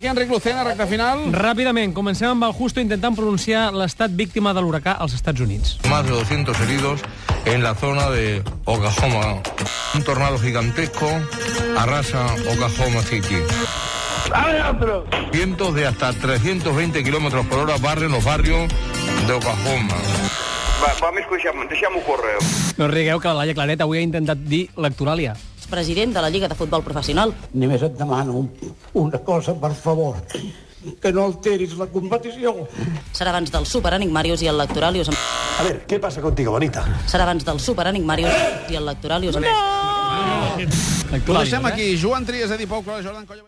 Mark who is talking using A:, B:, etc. A: Enric Lucena, recta final.
B: Ràpidament, comencem amb el Justo intentant pronunciar l'estat víctima de l'huracà als Estats Units.
C: Más de 200 heridos en la zona de Oklahoma. Un tornado gigantesco arrasa Oklahoma City. Vientos de hasta 320 kilómetros por hora barren los barrios de Oklahoma.
D: Va, va més que deixem, deixem-ho córrer.
B: No us rigueu que la Laia Claret avui ha intentat dir l'actoràlia.
E: president de la Lliga de Futbol Professional.
F: Només et demano un- una cosa, per favor, que no alteris la competició.
E: Serà abans del Super Enigmarius i el Lectoralius.
G: A ver, ¿qué pasa contigo, bonita?
E: Serà abans del Super Enigmarius i el Lectoralius. No!
A: Ho
B: L'actoràlia,
A: deixem aquí. Joan Trias, Edi Pau, Clara Jordan, Colla...